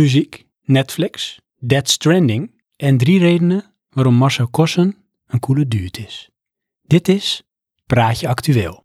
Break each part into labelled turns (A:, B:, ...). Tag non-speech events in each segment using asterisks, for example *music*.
A: muziek, Netflix, Dead Stranding en drie redenen waarom Marcel Kossen een coole dude is. Dit is Praatje Actueel.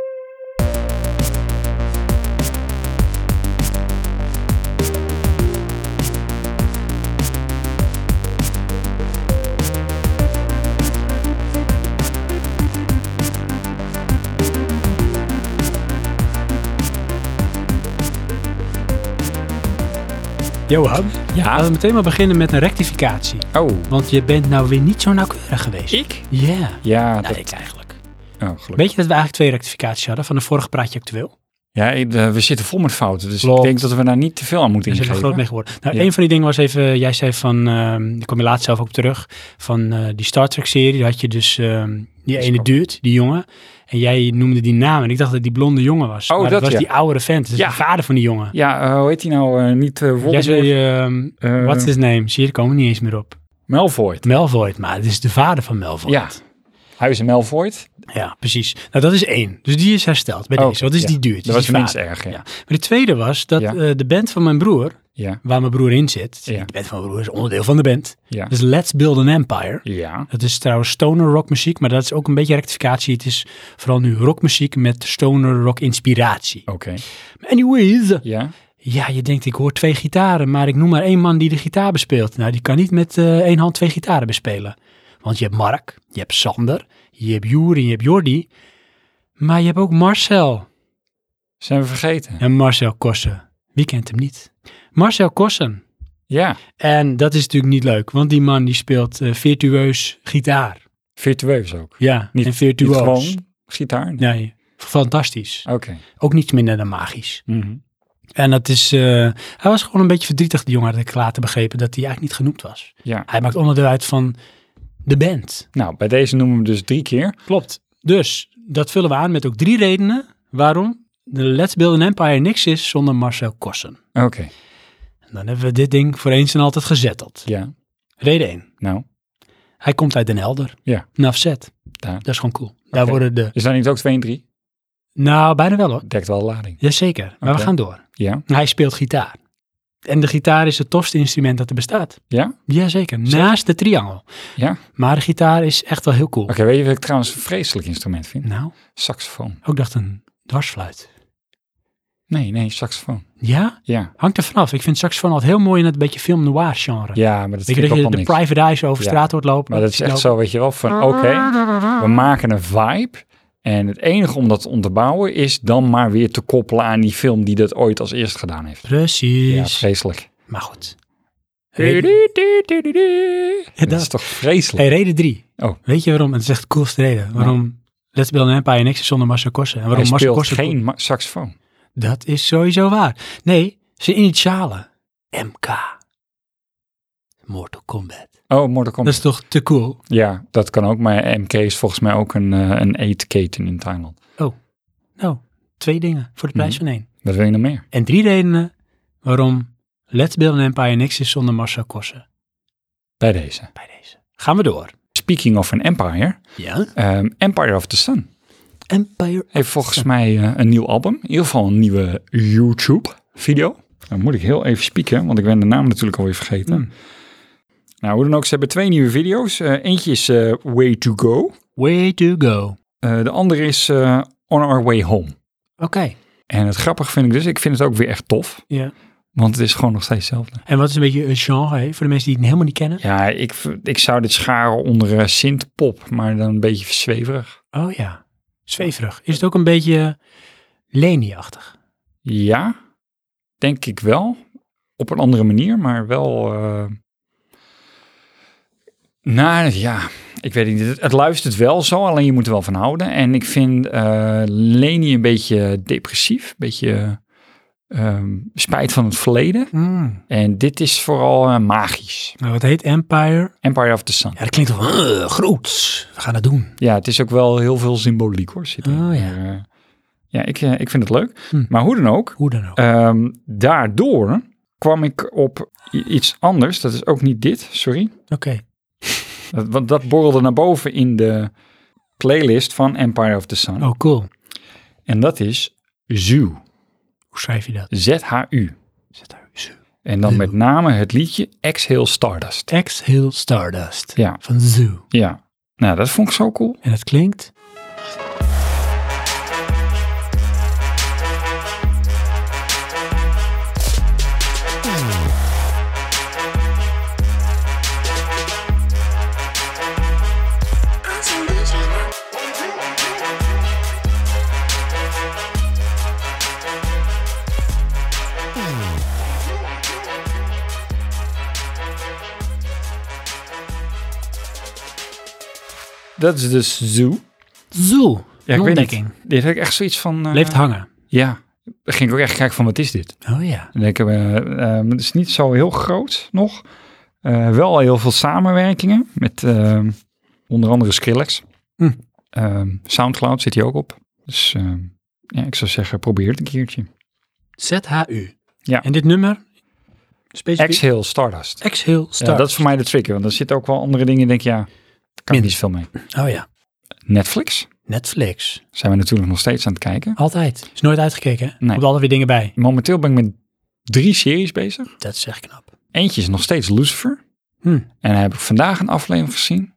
A: Johan, laten we meteen maar beginnen met een rectificatie.
B: Oh,
A: Want je bent nou weer niet zo nauwkeurig geweest.
B: ik?
A: Ja,
B: Ja,
A: nou,
B: dat...
A: ik eigenlijk.
B: Oh, gelukkig.
A: Weet je dat we eigenlijk twee rectificaties hadden van de vorige Praatje Actueel?
B: Ja, ik- eh, we zitten vol met fouten. Dus
A: Klopt.
B: ik denk dat we daar niet te veel aan moeten
A: Daar zijn we
B: ingeven.
A: groot mee geworden. Nou,
B: Ja.
A: een van die dingen was even, jij zei van, ehm daar kwam je laatst zelf ook op terug, van eh, die Star Trek serie, daar had je dus ehm, die
B: is
A: ene
B: klopt.
A: dude, die jongen, en jij noemde die naam en ik dacht dat die blonde jongen was.
B: Oh,
A: maar
B: dat
A: was
B: ja.
A: die oudere vent, dus
B: Ja.
A: de vader van die jongen.
B: Ja, eh, hoe heet hij nou? eh, niet eh
A: Jij
B: Voldemort.
A: zei, ehm
B: Eh,
A: what's his name? Zie je, daar komen we niet eens meer op.
B: Malfoy.
A: Melvoort, maar het is de vader van Melvoort.
B: Ja. Hij is een Malfoy.
A: Ja, precies. Nou, dat is één. Dus die is hersteld bij
B: Oh,
A: deze. Wat is
B: ja.
A: die duurt?
B: Dat was minst erg, ja.
A: Ja. Maar de tweede was dat
B: Ja.
A: eh, de band van mijn broer,
B: Ja.
A: waar mijn broer in zit,
B: Ja.
A: de band van mijn broer is onderdeel van de band,
B: Ja.
A: dus Let's Build an Empire.
B: Ja.
A: Dat is trouwens stoner rock muziek, maar dat is ook een beetje rectificatie. Het is vooral nu rockmuziek met stoner rock inspiratie.
B: Oké.
A: Anyways,
B: Ja.
A: ja, je denkt ik hoor twee gitaren, maar ik noem maar één man die de gitaar bespeelt. Nou, die kan niet met eh, één hand twee gitaren bespelen. Want je hebt Mark, je hebt Sander, je hebt Juri, je hebt Jordi, maar je hebt ook Marcel.
B: Zijn we vergeten?
A: En Marcel Kossen. Wie kent hem niet? Marcel Kossen.
B: Ja.
A: En dat is natuurlijk niet leuk, want die man die speelt eh, virtueus gitaar.
B: Virtueus ook.
A: Ja,
B: Niet-
A: en
B: Niet
A: virtuoos.
B: gewoon gitaar?
A: Nee, fantastisch.
B: Oké.
A: Ook niets minder dan magisch.
B: Mhm.
A: En dat is, eh, hij was gewoon een beetje verdrietig, die jongen, had ik later begrepen, dat hij eigenlijk niet genoemd was.
B: Ja.
A: Hij maakt onderdeel uit van de band.
B: Nou, bij deze noemen we hem dus drie keer.
A: Klopt. Dus, dat vullen we aan met ook drie redenen waarom de Let's Build an Empire niks is zonder Marcel Kossen.
B: Oké.
A: En dan hebben we dit ding voor eens en altijd gezetteld.
B: Ja.
A: Reden 1.
B: Nou.
A: Hij komt uit Den Helder.
B: Ja.
A: Nafzet.
B: Daar.
A: Dat is gewoon cool. Daar
B: Oké.
A: worden de...
B: Is daar niet ook twee en drie?
A: Nou, bijna wel hoor.
B: Dekt wel lading.
A: Jazeker. Maar
B: Oké.
A: we gaan door.
B: Ja.
A: Hij speelt gitaar. En de gitaar is het tofste instrument dat er bestaat.
B: Ja?
A: Jazeker. Naast de triangel.
B: Ja.
A: Maar de gitaar is echt wel heel cool.
B: Oké, weet je wat ik trouwens een vreselijk instrument vind?
A: Nou,
B: Saxofoon.
A: ook dacht een dwarsfluit.
B: Nee, nee, saxofoon.
A: Ja?
B: Ja.
A: Hangt er vanaf. Ik vind saxofoon altijd heel mooi in het beetje film noir genre.
B: Ja, maar dat
A: Weet
B: vind
A: je
B: ik
A: dat
B: ook
A: je
B: wel
A: de
B: niks.
A: private eyes over
B: Ja.
A: straat hoort lopen?
B: Maar dat is echt
A: Nou,
B: zo, weet je wel, van oké, we maken een vibe. En het enige om dat te onderbouwen is dan maar weer te koppelen aan die film die dat ooit als eerst gedaan heeft. Ja,
A: Precies.
B: vreselijk.
A: maar goed.
B: Dat is toch vreselijk?
A: Hey, reden drie.
B: Oh.
A: Weet je waarom? Het is echt de coolste reden. Waarom Let's Build an Empire niks is zonder Marcel Kossen. En
B: Hij
A: waarom Marcel
B: speelt
A: Kossen...
B: geen ma- saxofoon.
A: Dat is sowieso waar. Nee, zijn initialen. MK. Mortal Kombat.
B: Oh, Mortal
A: Dat
B: Kombat.
A: is toch te cool?
B: Ja, dat kan ook. Maar MK is volgens mij ook een, eh, een eetketen in Thailand.
A: Nou, twee dingen voor de prijs
B: Mhm.
A: van één.
B: Wat wil je nog meer?
A: En drie redenen waarom Let's Build an Empire niks is zonder Marcel Kossen.
B: Bij deze.
A: Bij deze. Gaan we door.
B: Speaking of an empire.
A: Ja?
B: ehm, empire of the Sun.
A: Empire.
B: heeft volgens mij eh, een nieuw album. In ieder geval een nieuwe YouTube-video. Dan moet ik heel even spieken, want ik ben de naam natuurlijk alweer vergeten.
A: Hmm.
B: Nou, hoe dan ook, ze hebben twee nieuwe video's. Eh, eentje is eh, Way to Go.
A: Way to go. Oké.
B: Eh, de andere is eh, On Our Way Home. En het grappige vind ik dus, ik vind het ook weer echt tof.
A: Ja.
B: Want het is gewoon nog steeds hetzelfde.
A: En wat is een beetje een genre hè, voor de mensen die het helemaal niet kennen?
B: Ja, ik, v- ik zou dit scharen onder eh, synthpop, maar dan een beetje verzweverig.
A: Oh ja, zweverig. Is het ook een beetje Leni-achtig?
B: Ja, denk ik wel. Op een andere manier, maar wel. eh, Nou ja, ik weet het niet. Het, het luistert wel zo, alleen je moet er wel van houden. En ik vind eh Leni een beetje depressief, een beetje ehm, spijt van het verleden.
A: Mm.
B: En dit is vooral eh, magisch.
A: Nou, wat heet Empire?
B: Empire of the Sun.
A: Ja, dat klinkt wel eh, groots. We gaan het doen.
B: Ja, het is ook wel heel veel symboliek hoor. Zit erin.
A: Oh, ja.
B: Maar, eh, ja, ik, eh, ik vind het leuk.
A: Hm.
B: Maar hoe dan ook,
A: Hoe dan ook.
B: Ehm, daardoor kwam ik op i- iets anders. Dat is ook niet dit, sorry.
A: Oké.
B: Dat- Want dat borrelde naar boven in de playlist van Empire of the Sun.
A: Oh, cool.
B: En dat is ZHU.
A: Hoe schrijf je dat?
B: Z-H-U.
A: Zet daar. Zo.
B: En dan met name het liedje Exhale Stardust.
A: Exhale Stardust
B: Ja.
A: van Zoo.
B: Ja, nou dat vond ik zo cool.
A: En het klinkt...
B: Dat is dus Zoo.
A: Zoo.
B: Ja,
A: een
B: ik weet
A: ontdekking.
B: niet. Dit heb ik echt zoiets van... eh,
A: Leeft hangen.
B: Ja, dan ging ik ook echt kijken van wat is dit?
A: Oh ja.
B: En ik, heb, eh, eh, het is niet zo heel groot nog. Eh, wel heel veel samenwerkingen met eh, onder andere Skrillex.
A: Hm.
B: Ehm, Soundcloud zit hier ook op. Dus eh, ja, ik zou zeggen, probeer het een keertje.
A: ZHU.
B: Ja.
A: En dit nummer? Specifiek?
B: Exhale Stardust.
A: Exhale
B: Ja,
A: Stardust.
B: dat is voor mij de trigger, want er zitten ook wel andere dingen. Ik denk, ja, daar kan ik niet zoveel mee.
A: Oh ja.
B: Netflix
A: Netflix.
B: zijn we natuurlijk nog steeds aan het kijken.
A: Altijd. Is nooit uitgekeken, hè?
B: Nee.
A: Komt altijd weer dingen bij.
B: Momenteel ben ik met drie series bezig.
A: Dat is echt knap.
B: Eentje is nog steeds Lucifer.
A: Hm.
B: En daar heb ik vandaag een aflevering gezien.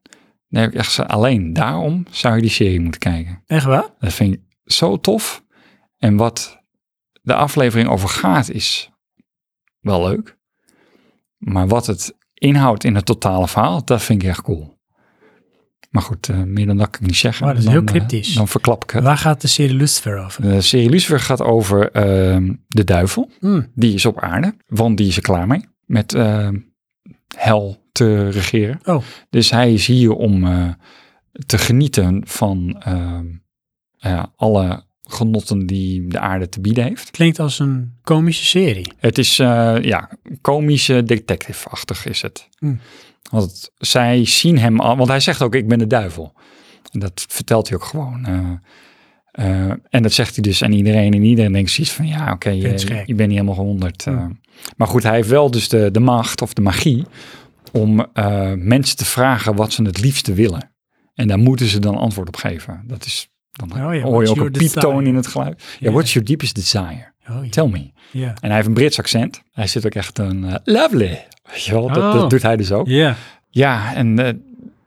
B: Daar heb ik echt gezegd, alleen daarom zou je die serie moeten kijken.
A: Echt waar?
B: Dat vind ik zo tof. En wat de aflevering over gaat is wel leuk. Maar wat het inhoudt in het totale verhaal, dat vind ik echt cool. Maar goed, eh, meer dan dat kan ik niet zeggen.
A: Maar dat is
B: Dan,
A: heel
B: eh,
A: cryptisch.
B: dan verklap ik het.
A: Waar gaat de serie Lucifer over?
B: De serie Lucifer gaat over ehm, de duivel
A: Hm.
B: die is op aarde, want die is er klaar mee met eh, hel te regeren.
A: Oh.
B: Dus hij is hier om eh, te genieten van eh, ja, alle genotten die de aarde te bieden heeft.
A: Klinkt als een komische serie.
B: Het is eh, ja, komische detective-achtig is het.
A: Hmm.
B: Want zij zien hem al, want hij zegt ook ik ben de duivel. En dat vertelt hij ook gewoon. eh, eh, en dat zegt hij dus aan iedereen. En iedereen denkt zoiets van ja, oké, eh,
A: Vind het
B: je,
A: gek.
B: je bent niet helemaal gehonderd. eh.
A: Hmm.
B: Maar goed, hij heeft wel dus de, de macht of de magie om eh, mensen te vragen wat ze het liefste willen. En daar moeten ze dan antwoord op geven. Dat is, dan
A: Oh ja,
B: hoor
A: what's
B: je ook
A: your
B: een pieptoon
A: desire?
B: in het geluid. Ja,
A: Ja.
B: what's your deepest desire?
A: Oh ja.
B: Tell me.
A: Ja.
B: En hij heeft een Brits accent. Hij zit ook echt een eh, lovely. Weet je wel, dat,
A: Oh.
B: dat doet hij dus ook. Ja,
A: Ja.
B: en eh,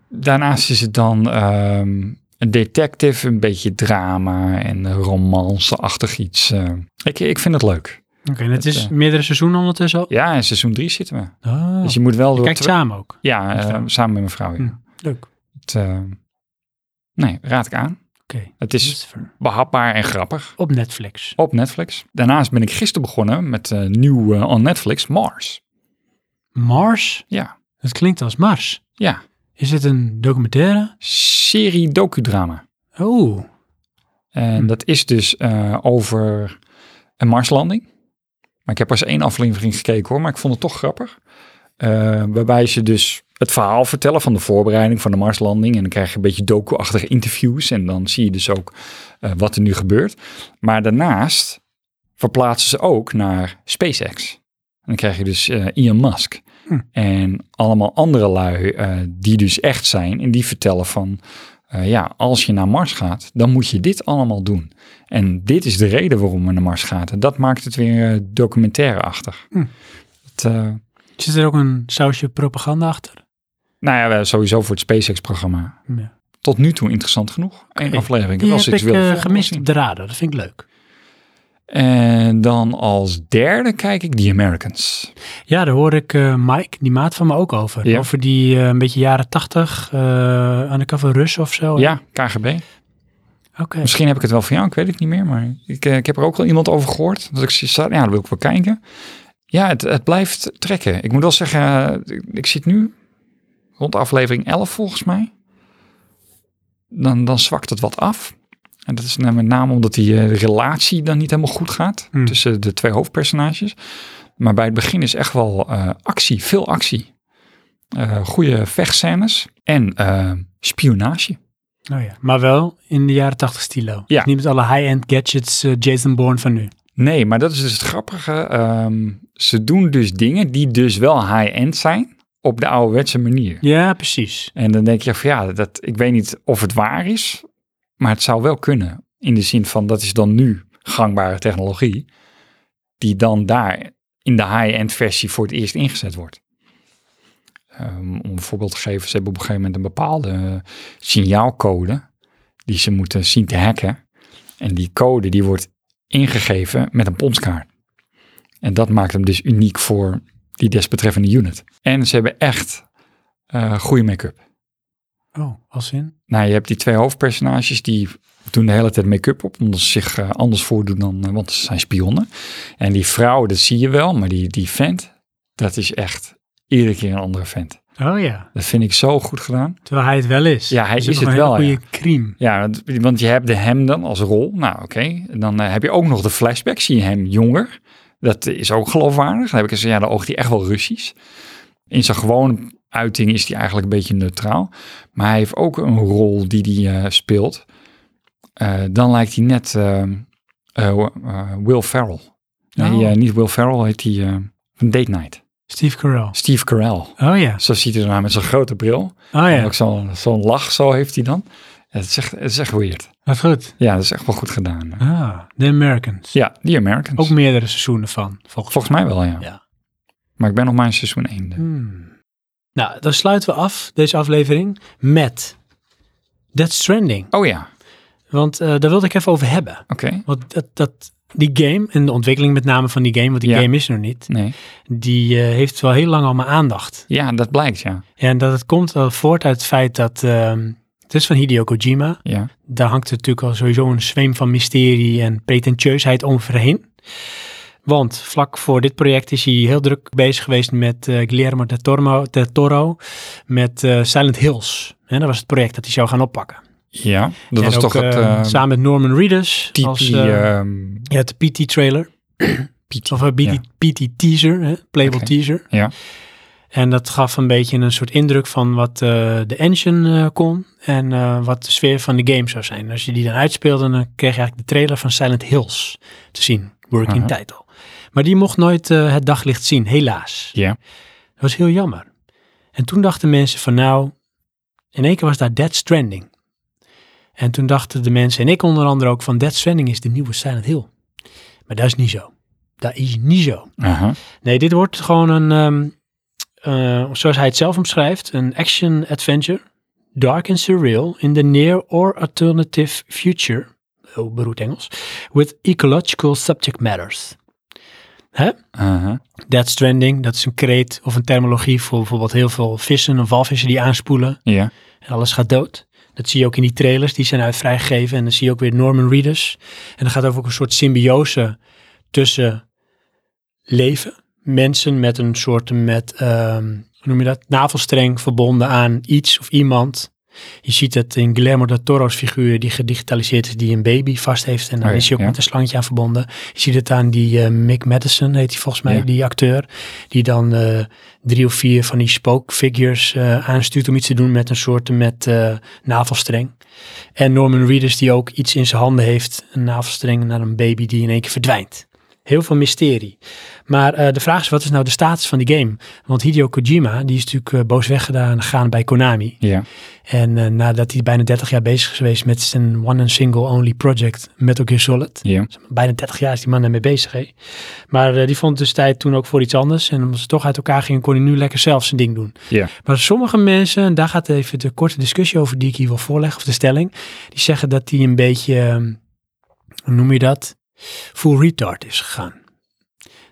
B: daarnaast is het dan ehm, een detective, een beetje drama en eh, romance-achtig iets. eh. ik, ik vind het leuk.
A: Oké, en het
B: Het,
A: is
B: eh,
A: meerdere seizoenen ondertussen al.
B: Ja, in seizoen 3 zitten we.
A: Oh.
B: Dus je moet wel door
A: Kijkt
B: twee-
A: samen ook.
B: Ja,
A: met
B: eh,
A: vrouwen.
B: samen met mijn vrouw. ja.
A: Hm. Leuk. Oké.
B: Het, eh, nee, raad ik aan. Het is
A: Lucifer.
B: behapbaar en grappig.
A: dus Op Netflix.
B: Op Netflix. Daarnaast ben ik gisteren begonnen met eh, nieuw eh, on Netflix, Mars.
A: Mars?
B: Ja,
A: Het klinkt als Mars.
B: ja.
A: Is het een documentaire?
B: serie docudrama.
A: Oh.
B: En
A: Hm.
B: dat is dus eh, over een Marslanding. Maar ik heb pas één aflevering gekeken hoor, maar ik vond het toch grappig. Eh, waarbij ze dus het verhaal vertellen van de voorbereiding van de Marslanding. En dan krijg je een beetje docu-achtige interviews. En dan zie je dus ook eh, wat er nu gebeurt. Maar daarnaast verplaatsen ze ook naar SpaceX. En dan krijg je dus eh, Elon Musk.
A: Hm.
B: En allemaal andere lui eh, die dus echt zijn. En die vertellen van, eh, ja, als je naar Mars gaat, dan moet je dit allemaal doen. En dit is de reden waarom we naar Mars gaan. En dat maakt het weer eh, documentaire-achtig.
A: Hm.
B: Het, eh,
A: Zit er ook een sausje propaganda achter?
B: nou ja, wel sowieso voor het SpaceX-programma.
A: Ja.
B: Tot nu toe interessant genoeg. Eén
A: Oké.
B: aflevering.
A: Die
B: Als
A: heb ik
B: wil
A: eh,
B: volgen,
A: gemist
B: zien.
A: op de radar. Dat vind ik leuk.
B: En dan als derde kijk ik The Americans.
A: Ja, daar hoor ik eh, Mike, die maat van me, ook over.
B: Ja.
A: Over die eh, een beetje jaren tachtig, eh undercover Rus of zo.
B: Ja, KGB.
A: Oké.
B: Misschien heb ik het wel van jou, ik weet het niet meer. Maar ik, eh, ik heb er ook wel iemand over gehoord. Dat ik zoiets had, ja, dat wil ik wel kijken. Ja, het, het blijft trekken. Ik moet wel zeggen, eh, ik, ik zit nu rond aflevering 11 volgens mij. Dan, dan zwakt het wat af. En dat is nou met name omdat die eh, relatie dan niet helemaal goed gaat.
A: Hmm.
B: Tussen de twee hoofdpersonages. Maar bij het begin is echt wel eh, actie, veel actie. Eh goede vechtscènes en eh, spionage.
A: Oh, ja. Maar wel in de jaren tachtig stilo.
B: Ja.
A: Dus niet met alle high-end gadgets eh, Jason Bourne van nu.
B: Nee, maar dat is dus het grappige. Ehm, ze doen dus dingen die dus wel high-end zijn op de ouderwetse manier.
A: Ja, precies.
B: En dan denk je van ja, dat, ik weet niet of het waar is, maar het zou wel kunnen. In de zin van dat is dan nu gangbare technologie, die dan daar in de high-end versie voor het eerst ingezet wordt. Ehm, om een voorbeeld te geven, ze hebben op een gegeven moment een bepaalde eh, signaalcode die ze moeten zien te hacken. En die code die wordt ingegeven met een ponskaart. En dat maakt hem dus uniek voor die desbetreffende unit. En ze hebben echt eh, goede make-up.
A: Oh, als in?
B: Nou, je hebt die twee hoofdpersonages die doen de hele tijd make-up op, omdat ze zich eh, anders voordoen dan, eh, want ze zijn spionnen. En die vrouw, dat zie je wel, maar die, die vent, dat is echt iedere keer een andere vent.
A: Oh ja,
B: Dat vind ik zo goed gedaan.
A: terwijl hij het wel is.
B: Ja, hij
A: Dus
B: is
A: ook
B: het
A: een hele
B: wel, ja.
A: goede cream.
B: Ja, want, want je hebt de hem dan als rol. Nou, oké. En Dan eh, heb je ook nog de flashback. Zie je hem jonger. Dat is ook geloofwaardig. Dan heb ik eens, ja, dan oogt hij echt wel Russisch. In zijn gewone uiting is hij eigenlijk een beetje neutraal. Maar hij heeft ook een rol die hij eh, speelt. Eh, dan lijkt hij net eh, eh, eh, Will Ferrell. Nee,
A: Oh.
B: eh, niet Will Ferrell, heet hij eh, van Date Night.
A: Steve Carell.
B: Steve Carell.
A: Oh ja,
B: Zo ziet hij ernaar met zijn grote bril.
A: oh
B: En
A: ja,
B: ook zo'n zo'n lach, zo heeft hij dan. Het is echt, het is echt weird.
A: dat is goed.
B: Ja, dat is echt wel goed gedaan.
A: Ah, The Americans.
B: Ja, die Americans.
A: Ook meerdere seizoenen van, volgens
B: Volgens mij wel, ja.
A: Ja.
B: Maar ik ben nog maar in seizoen dus. 1.
A: Hmm. Nou, dan sluiten we af deze aflevering met Dead Stranding.
B: Oh ja,
A: Want eh, daar wilde ik even over hebben.
B: oké.
A: Want dat, dat, die game en de ontwikkeling met name van die game, want die
B: Ja.
A: game is er nog niet,
B: Nee.
A: die eh, heeft wel heel lang al mijn aandacht.
B: Ja, dat blijkt, ja.
A: En dat het komt wel voort uit het feit dat ehm, het is van Hideo Kojima.
B: Ja,
A: daar hangt natuurlijk al sowieso een zweem van mysterie en pretentieusheid overheen. Want vlak voor dit project is hij heel druk bezig geweest met eh, Guillermo del Toro, del Toro met eh, Silent Hills. En dat was het project dat hij zou gaan oppakken.
B: ja. dat
A: en
B: was
A: ook,
B: toch het
A: eh,
B: eh,
A: samen met Norman Reedus
B: TP,
A: als eh,
B: ehm,
A: ja, het PT-trailer.
B: PT.
A: Of eh, een
B: ja.
A: PT-teaser, playable
B: Oké.
A: teaser.
B: Ja.
A: En dat gaf een beetje een soort indruk van wat eh, de engine eh, kon en eh, wat de sfeer van de game zou zijn. Als je die dan uitspeelde, dan kreeg je eigenlijk de trailer van Silent Hills te zien, working
B: Aha.
A: title. Maar die mocht nooit eh, het daglicht zien, helaas.
B: Ja.
A: Dat was heel jammer. En toen dachten mensen van nou, in één keer was daar Dead Stranding. En toen dachten de mensen, en ik onder andere ook, van Dead Stranding is de nieuwe Silent Hill. Maar dat is niet zo. Dat is niet zo.
B: Aha.
A: Nee, dit wordt gewoon een, ehm, eh, zoals hij het zelf omschrijft, een action adventure. Dark and surreal in the near or alternative future. Heel beroerd Engels. With ecological subject matters.
B: Aha.
A: Dead stranding, dat is een kreet of een terminologie voor bijvoorbeeld heel veel vissen en walvissen die aanspoelen.
B: Ja.
A: En alles gaat dood. Dat zie je ook in die trailers, die zijn uit vrijgegeven. En dan zie je ook weer Norman Reedus. En dan gaat over ook een soort symbiose tussen leven, mensen met een soort met, ehm, hoe noem je dat, navelstreng verbonden aan iets of iemand. Je ziet het in Guillermo del Toro's figuur die gedigitaliseerd is, die een baby vast heeft. En dan
B: Oh ja,
A: is hij ook
B: ja.
A: met een slangetje aan verbonden. Je ziet het aan die eh, Mick Madison, heet hij volgens mij,
B: Ja.
A: die acteur. Die dan eh, drie of vier van die spookfigures eh, aanstuurt om iets te doen met een soort met eh, navelstreng. En Norman Reedus die ook iets in zijn handen heeft, een navelstreng naar een baby die in één keer verdwijnt. Heel veel mysterie. Maar eh, de vraag is, wat is nou de status van die game? Want Hideo Kojima, die is natuurlijk eh, boos weggedaan gegaan bij Konami.
B: Ja.
A: En eh, nadat hij bijna 30 jaar bezig is geweest met zijn one and single only project Metal Gear Solid.
B: Ja.
A: Bijna 30 jaar is die man ermee bezig. Hè? Maar eh, die vond dus tijd toen ook voor iets anders. En omdat ze toch uit elkaar gingen, kon hij nu lekker zelf zijn ding doen.
B: Ja.
A: Maar sommige mensen, en daar gaat even de korte discussie over die ik hier wil voorleggen, of de stelling, die zeggen dat hij een beetje, ehm, hoe noem je dat, full retard is gegaan.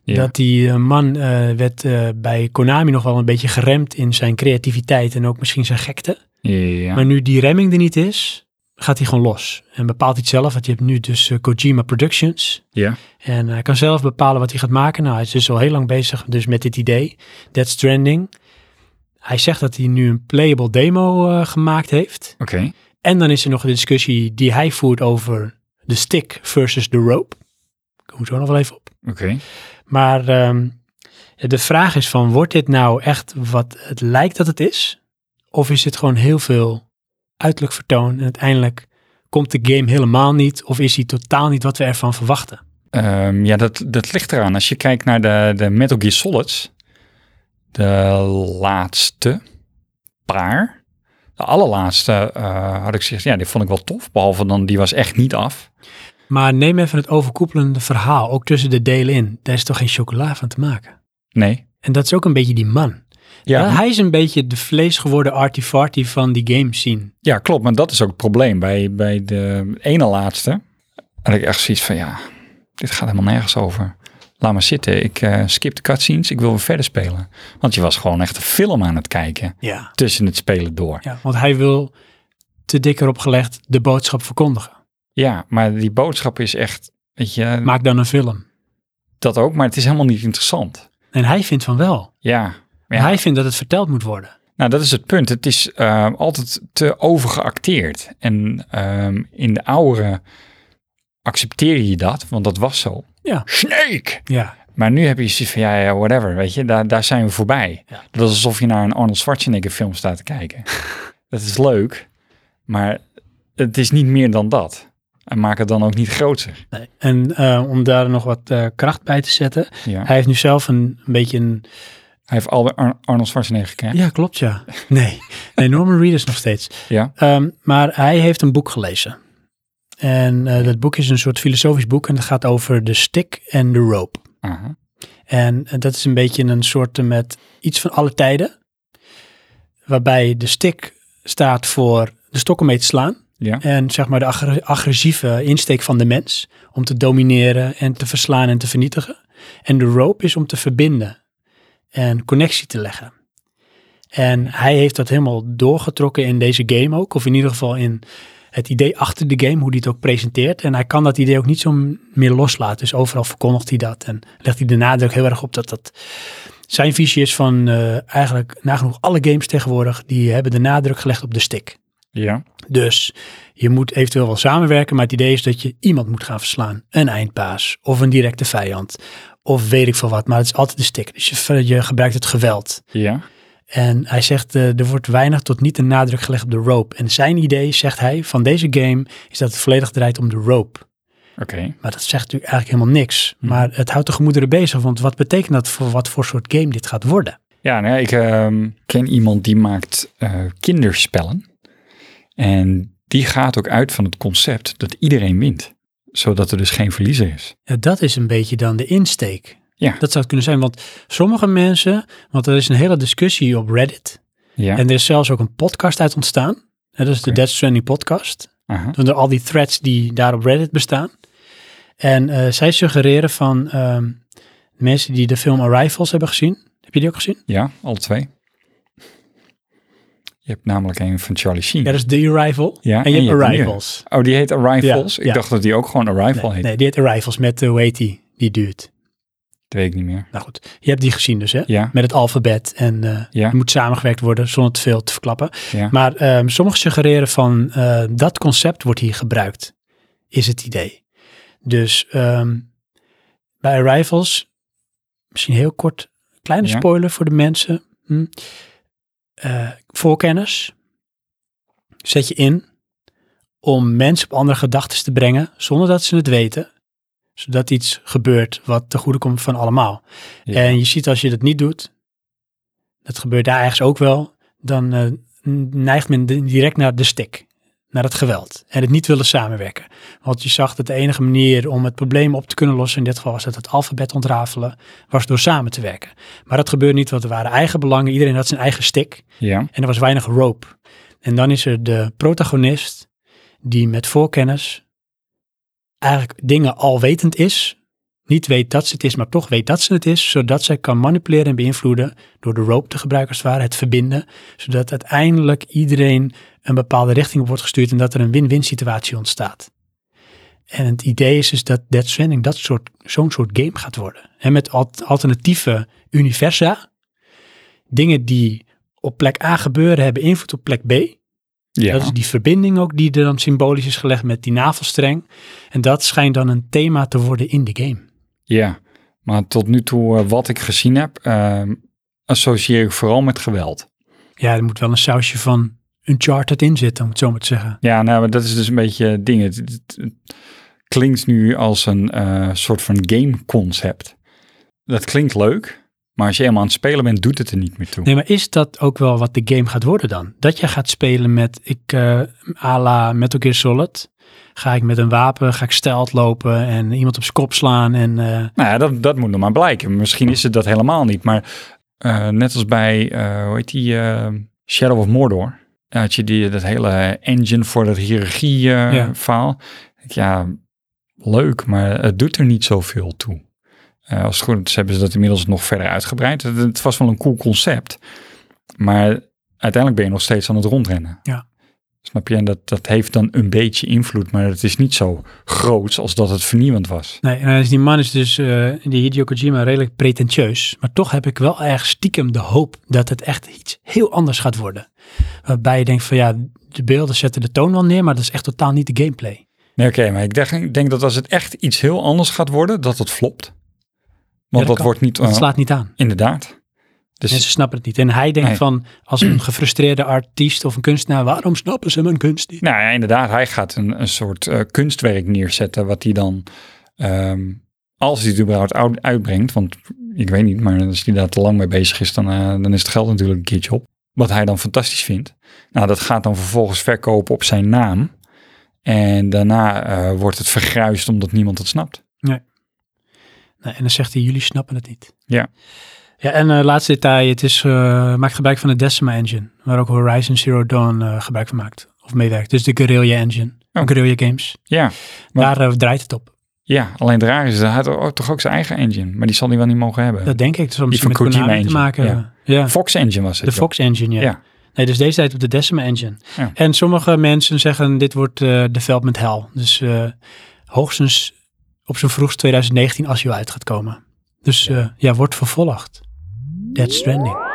B: Ja.
A: Dat die eh, man eh, werd eh, bij Konami nog wel een beetje geremd in zijn creativiteit en ook misschien zijn gekte.
B: Ja.
A: Maar nu die remming er niet is, gaat hij gewoon los. En bepaalt hij het zelf, want je hebt nu dus eh, Kojima Productions.
B: Ja.
A: En hij kan zelf bepalen wat hij gaat maken. Nou, hij is dus al heel lang bezig dus met dit idee, Dead Stranding. Hij zegt dat hij nu een playable demo eh, gemaakt heeft.
B: Oké.
A: En dan is er nog de discussie die hij voert over de stick versus de rope. Kom zo nog wel even op.
B: Oké.
A: Maar ehm, de vraag is van, wordt dit nou echt wat het lijkt dat het is? Of is dit gewoon heel veel uiterlijk vertoon en uiteindelijk komt de game helemaal niet? Of is hij totaal niet wat we ervan verwachten?
B: Ehm, ja, dat, dat ligt eraan. Als je kijkt naar de, de Metal Gear Solids, de laatste paar, de allerlaatste eh, had ik gezegd, ja, die vond ik wel tof. Behalve dan, die was echt niet af.
A: Maar neem even het overkoepelende verhaal, ook tussen de delen in. Daar is toch geen chocola van te maken?
B: Nee.
A: En dat is ook een beetje die man.
B: Ja,
A: Hij is een beetje de vleesgeworden artifarty van die game scene.
B: Ja, klopt. Maar dat is ook het probleem bij, bij de ene laatste. Had ik echt zoiets van, ja, dit gaat helemaal nergens over. Laat maar zitten. Ik eh, skip de cutscenes. Ik wil weer verder spelen. Want je was gewoon echt een film aan het kijken.
A: Ja.
B: Tussen het spelen door.
A: ja want hij wil, te dik erop gelegd, de boodschap verkondigen.
B: Ja, maar die boodschap is echt, weet je,
A: Maak dan een film.
B: dat ook. Maar het is helemaal niet interessant.
A: En hij vindt van wel.
B: Ja. Ja.
A: Hij vindt dat het verteld moet worden.
B: Nou, dat is het punt. Het is eh, altijd te overgeacteerd. En ehm, in de oudere accepteer je dat, want dat was zo.
A: Ja.
B: Snake!
A: Ja.
B: Maar nu heb je zoiets van, ja, ja, whatever, weet je, daar, daar zijn we voorbij.
A: Ja.
B: Dat is alsof je naar een Arnold Schwarzenegger film staat te
A: *laughs*
B: kijken. dat is leuk, maar het is niet meer dan dat. En maak het dan ook niet groter.
A: En eh, om daar nog wat eh, kracht bij te zetten.
B: Ja. Hij
A: Hij heeft nu zelf een, een beetje een...
B: heeft Albert Ar- Arnold Schwarzenegger gekregen.
A: Ja, klopt ja. *laughs* Nee, nee Norman Reedus nog steeds.
B: Ja.
A: Ehm, maar hij heeft een boek gelezen. En eh, dat boek is een soort filosofisch boek en het gaat over de stick en de rope.
B: Aha.
A: En eh, dat is een beetje een soort met iets van alle tijden. Waarbij de stick staat voor de stok om mee te slaan.
B: Ja.
A: En zeg maar de aggre- agressieve insteek van de mens. Om te domineren en te verslaan en te vernietigen. En de rope is om te verbinden en connectie te leggen. En hij heeft dat helemaal doorgetrokken in deze game ook. Of in ieder geval in het idee achter de game, hoe hij het ook presenteert. En hij kan dat idee ook niet zo m- meer loslaten. Dus overal verkondigt hij dat. En legt hij de nadruk heel erg op dat dat zijn visie is van eh, eigenlijk nagenoeg alle games tegenwoordig. Die hebben de nadruk gelegd op de stick.
B: Ja.
A: Dus je moet eventueel wel samenwerken, maar het idee is dat je iemand moet gaan verslaan. Een eindpaas of een directe vijand of weet ik veel wat, maar het is altijd de stick. Dus je, ver- je gebruikt het geweld.
B: Ja.
A: En hij zegt, eh, er wordt weinig tot niet een nadruk gelegd op de rope. En zijn idee, zegt hij, van deze game is dat het volledig draait om de rope.
B: Oké.
A: Maar dat zegt natuurlijk eigenlijk helemaal niks.
B: Hmm.
A: Maar het houdt de gemoederen bezig, want wat betekent dat voor wat voor soort game dit gaat worden?
B: Ja, nou ja, ik ehm, ken iemand die maakt eh, kinderspellen. En die gaat ook uit van het concept dat iedereen wint. Zodat er dus geen verliezer is.
A: Ja, dat is een beetje dan de insteek.
B: Ja.
A: Dat zou het kunnen zijn, want sommige mensen, want er is een hele discussie op Reddit.
B: Ja.
A: En er is zelfs ook een podcast uit ontstaan. En dat is de
B: Oké.
A: Dead Stranding podcast.
B: Aha.
A: Van de- al die threads die daar op Reddit bestaan. En eh, zij suggereren van ehm, mensen die de film Arrivals hebben gezien. Heb je die ook gezien?
B: Ja, alle twee. Je hebt namelijk een van Charlie Sheen.
A: Ja, dat is The Arrival.
B: Ja,
A: en je
B: en
A: hebt
B: je hebt die
A: Arrivals.
B: Oh, die heet Arrivals?
A: Ja,
B: ik
A: ja.
B: dacht dat die ook gewoon Arrival
A: Nee,
B: heet.
A: nee, die heet Arrivals met, eh, hoe heet die, die duurt.
B: Dat weet ik niet meer.
A: Nou goed, je hebt die gezien dus hè?
B: Ja,
A: Met het alfabet en eh
B: ja,
A: er moet samengewerkt worden zonder te veel te verklappen.
B: ja.
A: Maar ehm sommigen suggereren van eh, dat concept wordt hier gebruikt, is het idee. Dus ehm, bij Arrivals, misschien heel kort, kleine
B: Ja.
A: spoiler voor de mensen. Hm. Eh, voorkennis zet je in om mensen op andere gedachten te brengen zonder dat ze het weten zodat iets gebeurt wat te goede komt van allemaal.
B: Ja.
A: En je ziet als je dat niet doet, dat gebeurt daar ergens ook wel, dan eh, n- neigt men di- direct naar de stik, naar het geweld en het niet willen samenwerken. Want je zag dat de enige manier om het probleem op te kunnen lossen, in dit geval was het het alfabet ontrafelen, was door samen te werken. Maar dat gebeurde niet, want er waren eigen belangen, iedereen had zijn eigen stik
B: ja.
A: en er was weinig rope. En dan is er de protagonist die met voorkennis eigenlijk dingen al wetend is. Niet weet dat ze het is, maar toch weet dat ze het is, zodat zij kan manipuleren en beïnvloeden door de rope te gebruiken, als het ware, het verbinden, zodat uiteindelijk iedereen een bepaalde richting op wordt gestuurd en dat er een win-win situatie ontstaat. En het idee is dus dat Dead Stranding dat soort, zo'n soort game gaat worden. En met al- alternatieve universa, dingen die op plek A gebeuren, hebben invloed op plek B.
B: ja.
A: Dat is die verbinding ook die er dan symbolisch is gelegd met die navelstreng. En dat schijnt dan een thema te worden in de game.
B: Ja, maar tot nu toe eh, wat ik gezien heb, ehm, associeer ik vooral met geweld.
A: Ja, er moet wel een sausje van Uncharted in zitten, om het zo maar te zeggen.
B: Ja, nou, maar dat is dus een beetje het ding. Het, het- het klinkt nu als een eh, soort van gameconcept. Dat klinkt leuk, maar als je helemaal aan het spelen bent, doet het er niet meer toe.
A: Nee, maar is dat ook wel wat de game gaat worden dan? Dat je gaat spelen met, ik, eh à la Metal Gear Solid, Ga ik met een wapen, ga ik stelt lopen en iemand op zijn kop slaan. En eh,
B: Nou ja, dat, dat moet nog maar blijken. Misschien is het dat helemaal niet. Maar eh, net als bij, eh, hoe heet die, eh, Shadow of Mordor. Daar had je die, dat hele engine voor dat eh,
A: Ja.
B: hiërarchie-faal. Ja. leuk, maar het doet er niet zoveel toe. Eh, als het goed is, hebben ze dat inmiddels nog verder uitgebreid. Het, het was wel een cool concept. Maar uiteindelijk ben je nog steeds aan het rondrennen.
A: Ja.
B: Snap je? En dat, dat heeft dan een beetje invloed, maar het is niet zo groots als dat het vernieuwend was.
A: nee, en dan is die man is dus, eh, die Hideo Kojima, redelijk pretentieus. Maar toch heb ik wel erg stiekem de hoop dat het echt iets heel anders gaat worden. Waarbij je denkt van ja, de beelden zetten de toon wel neer, maar dat is echt totaal niet de gameplay.
B: Nee, oké, maar ik denk, ik denk dat als het echt iets heel anders gaat worden, dat het flopt.
A: dat
B: Want dat,
A: kan.
B: wordt niet...
A: Dat
B: eh,
A: slaat niet aan.
B: Inderdaad. Dus
A: Mensen snappen het niet. En hij denkt
B: Nee.
A: van, als een gefrustreerde artiest of een kunstenaar, waarom snappen ze mijn kunst niet?
B: nou ja, inderdaad, hij gaat een, een soort eh, kunstwerk neerzetten wat hij dan, ehm, als hij het überhaupt uit- uitbrengt, want ik weet niet, maar als hij daar te lang mee bezig is, dan, eh, dan is het geld natuurlijk een keertje op. Wat hij dan fantastisch vindt. Nou, dat gaat dan vervolgens verkopen op zijn naam. En daarna eh, wordt het vergruisd omdat niemand het snapt.
A: Nou, en dan zegt hij, jullie snappen het niet.
B: Ja.
A: Ja, en eh, laatste detail, het is, eh, maakt gebruik van de Decima Engine, waar ook Horizon Zero Dawn eh, gebruik van maakt. Of meewerkt. Dus de Guerrilla Engine,
B: Oh.
A: Guerrilla Games.
B: Ja, Maar-
A: Daar eh, draait het op.
B: ja, alleen het raar is, hij had ook- toch ook zijn eigen engine. Maar die zal hij wel niet mogen hebben.
A: Dat denk ik. Dus om
B: Die
A: ze met
B: van Kojima
A: Konami te
B: engine,
A: maken.
B: ja.
A: ja.
B: Fox Engine was het.
A: De
B: joh.
A: Fox Engine, ja.
B: Ja.
A: Nee, dus deze tijd op de Decima Engine.
B: Ja.
A: En sommige mensen zeggen dit wordt eh, development hell. Dus eh, hoogstens op zijn vroegst 2019 als je wel uit gaat komen. Dus eh, ja, wordt vervolgd. Dead Stranding.